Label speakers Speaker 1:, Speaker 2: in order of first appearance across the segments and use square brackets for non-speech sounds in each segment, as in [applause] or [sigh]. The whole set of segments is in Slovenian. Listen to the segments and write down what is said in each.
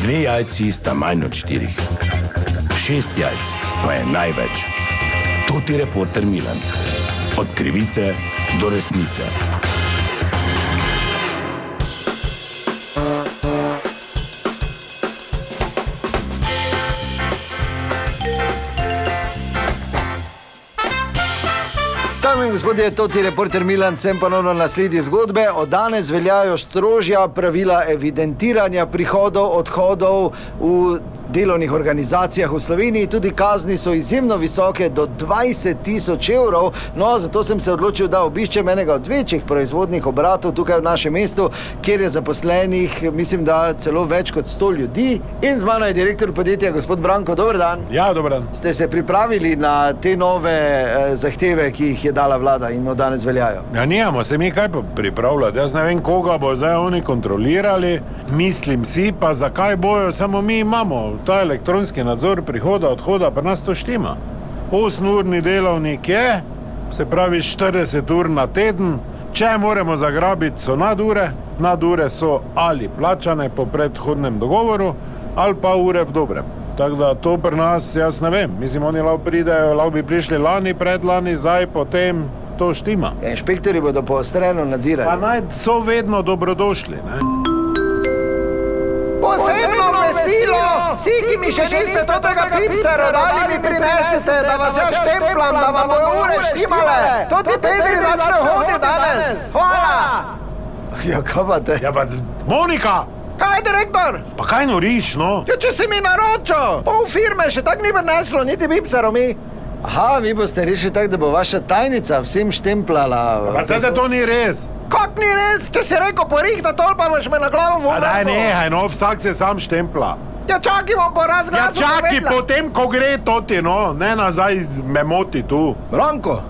Speaker 1: Dve jajci sta manj od štirih. Šest jajc pa je največ. To ti reporter Milan. Od krivice do resnice.
Speaker 2: Dame in gospodje, to ti reporter Milan, sem ponovno na sledi zgodbe. Od danes veljajo strožja pravila evidentiranja prihodov, odhodov v delovnih organizacijah v Sloveniji. Tudi kazni so izjemno visoke, do 20 tisoč evrov. No, zato sem se odločil, da obiščem enega od večjih proizvodnih obratov tukaj v našem mestu, kjer je zaposlenih, mislim, da celo več kot 100 ljudi. In z mano je direktor podjetja, gospod Branko, dober dan.
Speaker 3: Ja, dober dan.
Speaker 2: Ste se pripravili na te nove eh, zahteve, ki jih je dala vlada in od danes veljajo?
Speaker 3: Ja, nijamo se mi kaj pa pripravljati. Jaz ne vem, koga bo zdaj oni kontrolirali. Mislim si pa, zakaj bojo, samo mi imamo ta elektronski nadzor prihoda, odhoda, pri nas to štima. 8-urni delovnik je, se pravi 40 ur na teden. Če moramo zagrabiti, so nadure. Nadure so ali plačane po predhodnem dogovoru, ali pa ure v dobrem. Tako da to pri nas, jaz ne vem. Mislim, oni lahko pridejo, lahko bi prišli lani, predlani, zdaj, potem to štima.
Speaker 2: Ja, inšpektori bodo poostreno
Speaker 3: Pa
Speaker 2: nadzirali.
Speaker 4: no,
Speaker 3: naj so vedno dobrodošli. Ne?
Speaker 4: Posebno obvestilo, vsi, ki mi še niste tega pipsa rodali, mi prinesete, da vas jaz štemplam, da vam bojo ure štimale. To ti Pedri začne hoditi danes. Hvala.
Speaker 2: [laughs] Ja, kaj pa te?
Speaker 3: Ja, pa, Monika,
Speaker 4: Kaj, direktor?
Speaker 3: pa kaj noriš, no?
Speaker 4: Ja, če si mi naročil, pol firme še tako ni prineslo, niti pipsaro mi.
Speaker 2: Aha, vi boste rešili tako, da bo vaša tajnica vsem štemplala.
Speaker 3: Pa zdaj da to ni res.
Speaker 4: Kak ni res, če si rekel porihta, tol pa boš me na glavo
Speaker 3: Pa
Speaker 4: vodil.
Speaker 3: daj nehaj, no, vsak se sam štempla.
Speaker 4: Ja, čakaj, bom poraz
Speaker 3: Ja,
Speaker 4: glasu
Speaker 3: čakaj,
Speaker 4: povedala.
Speaker 3: potem, ko gre to ti, no, ne nazaj me moti tu.
Speaker 4: Branko,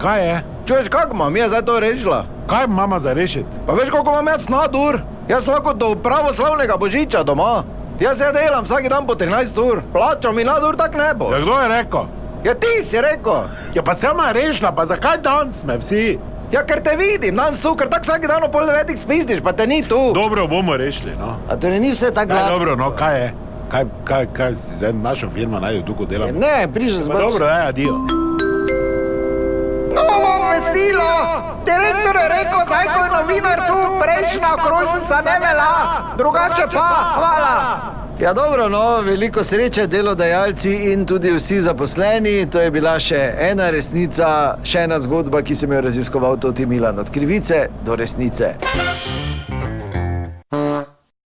Speaker 3: Kaj je?
Speaker 4: čuješ, kako imam jaz zdaj to rešila?
Speaker 3: Kaj mama za rešiti?
Speaker 4: Pa veš, koliko imam jaz nadur? Jaz lahko do pravoslavnega božiča doma. Jaz se delam vsak dan po 13 ur, plačam mi nadur tak ne bo.
Speaker 3: Ja, kdo je rekel?
Speaker 4: Ja ti si rekel,
Speaker 3: Ja, pa sama je rešila, pa zakaj danes me vsi?
Speaker 4: ja ker te vidim, danes tu, ker tako vsak dan ob pol devetih spizdiš, pa te ni tu.
Speaker 3: Dobro bomo rešili, no.
Speaker 2: A torej ni vse tako
Speaker 3: Ja,
Speaker 2: gladko?
Speaker 3: dobro, no, kaj je? Kaj, kaj, kaj si zdaj našo firmo naj jo tukaj
Speaker 2: Ja,
Speaker 3: delamo?
Speaker 2: Ne, prišel sem.
Speaker 3: Pa Dobro, daj, adijo.
Speaker 4: Novo obvestilo, direktor je rekel, zdaj ko je novinar tu, prejšnja okrožnica ne velja, drugače pa, hvala.
Speaker 2: Ja, dobro, no, veliko sreče delodajalci in tudi vsi zaposleni. To je bila še ena resnica, še ena zgodba, ki sem jo raziskoval, to ti Milan, od krivice do resnice.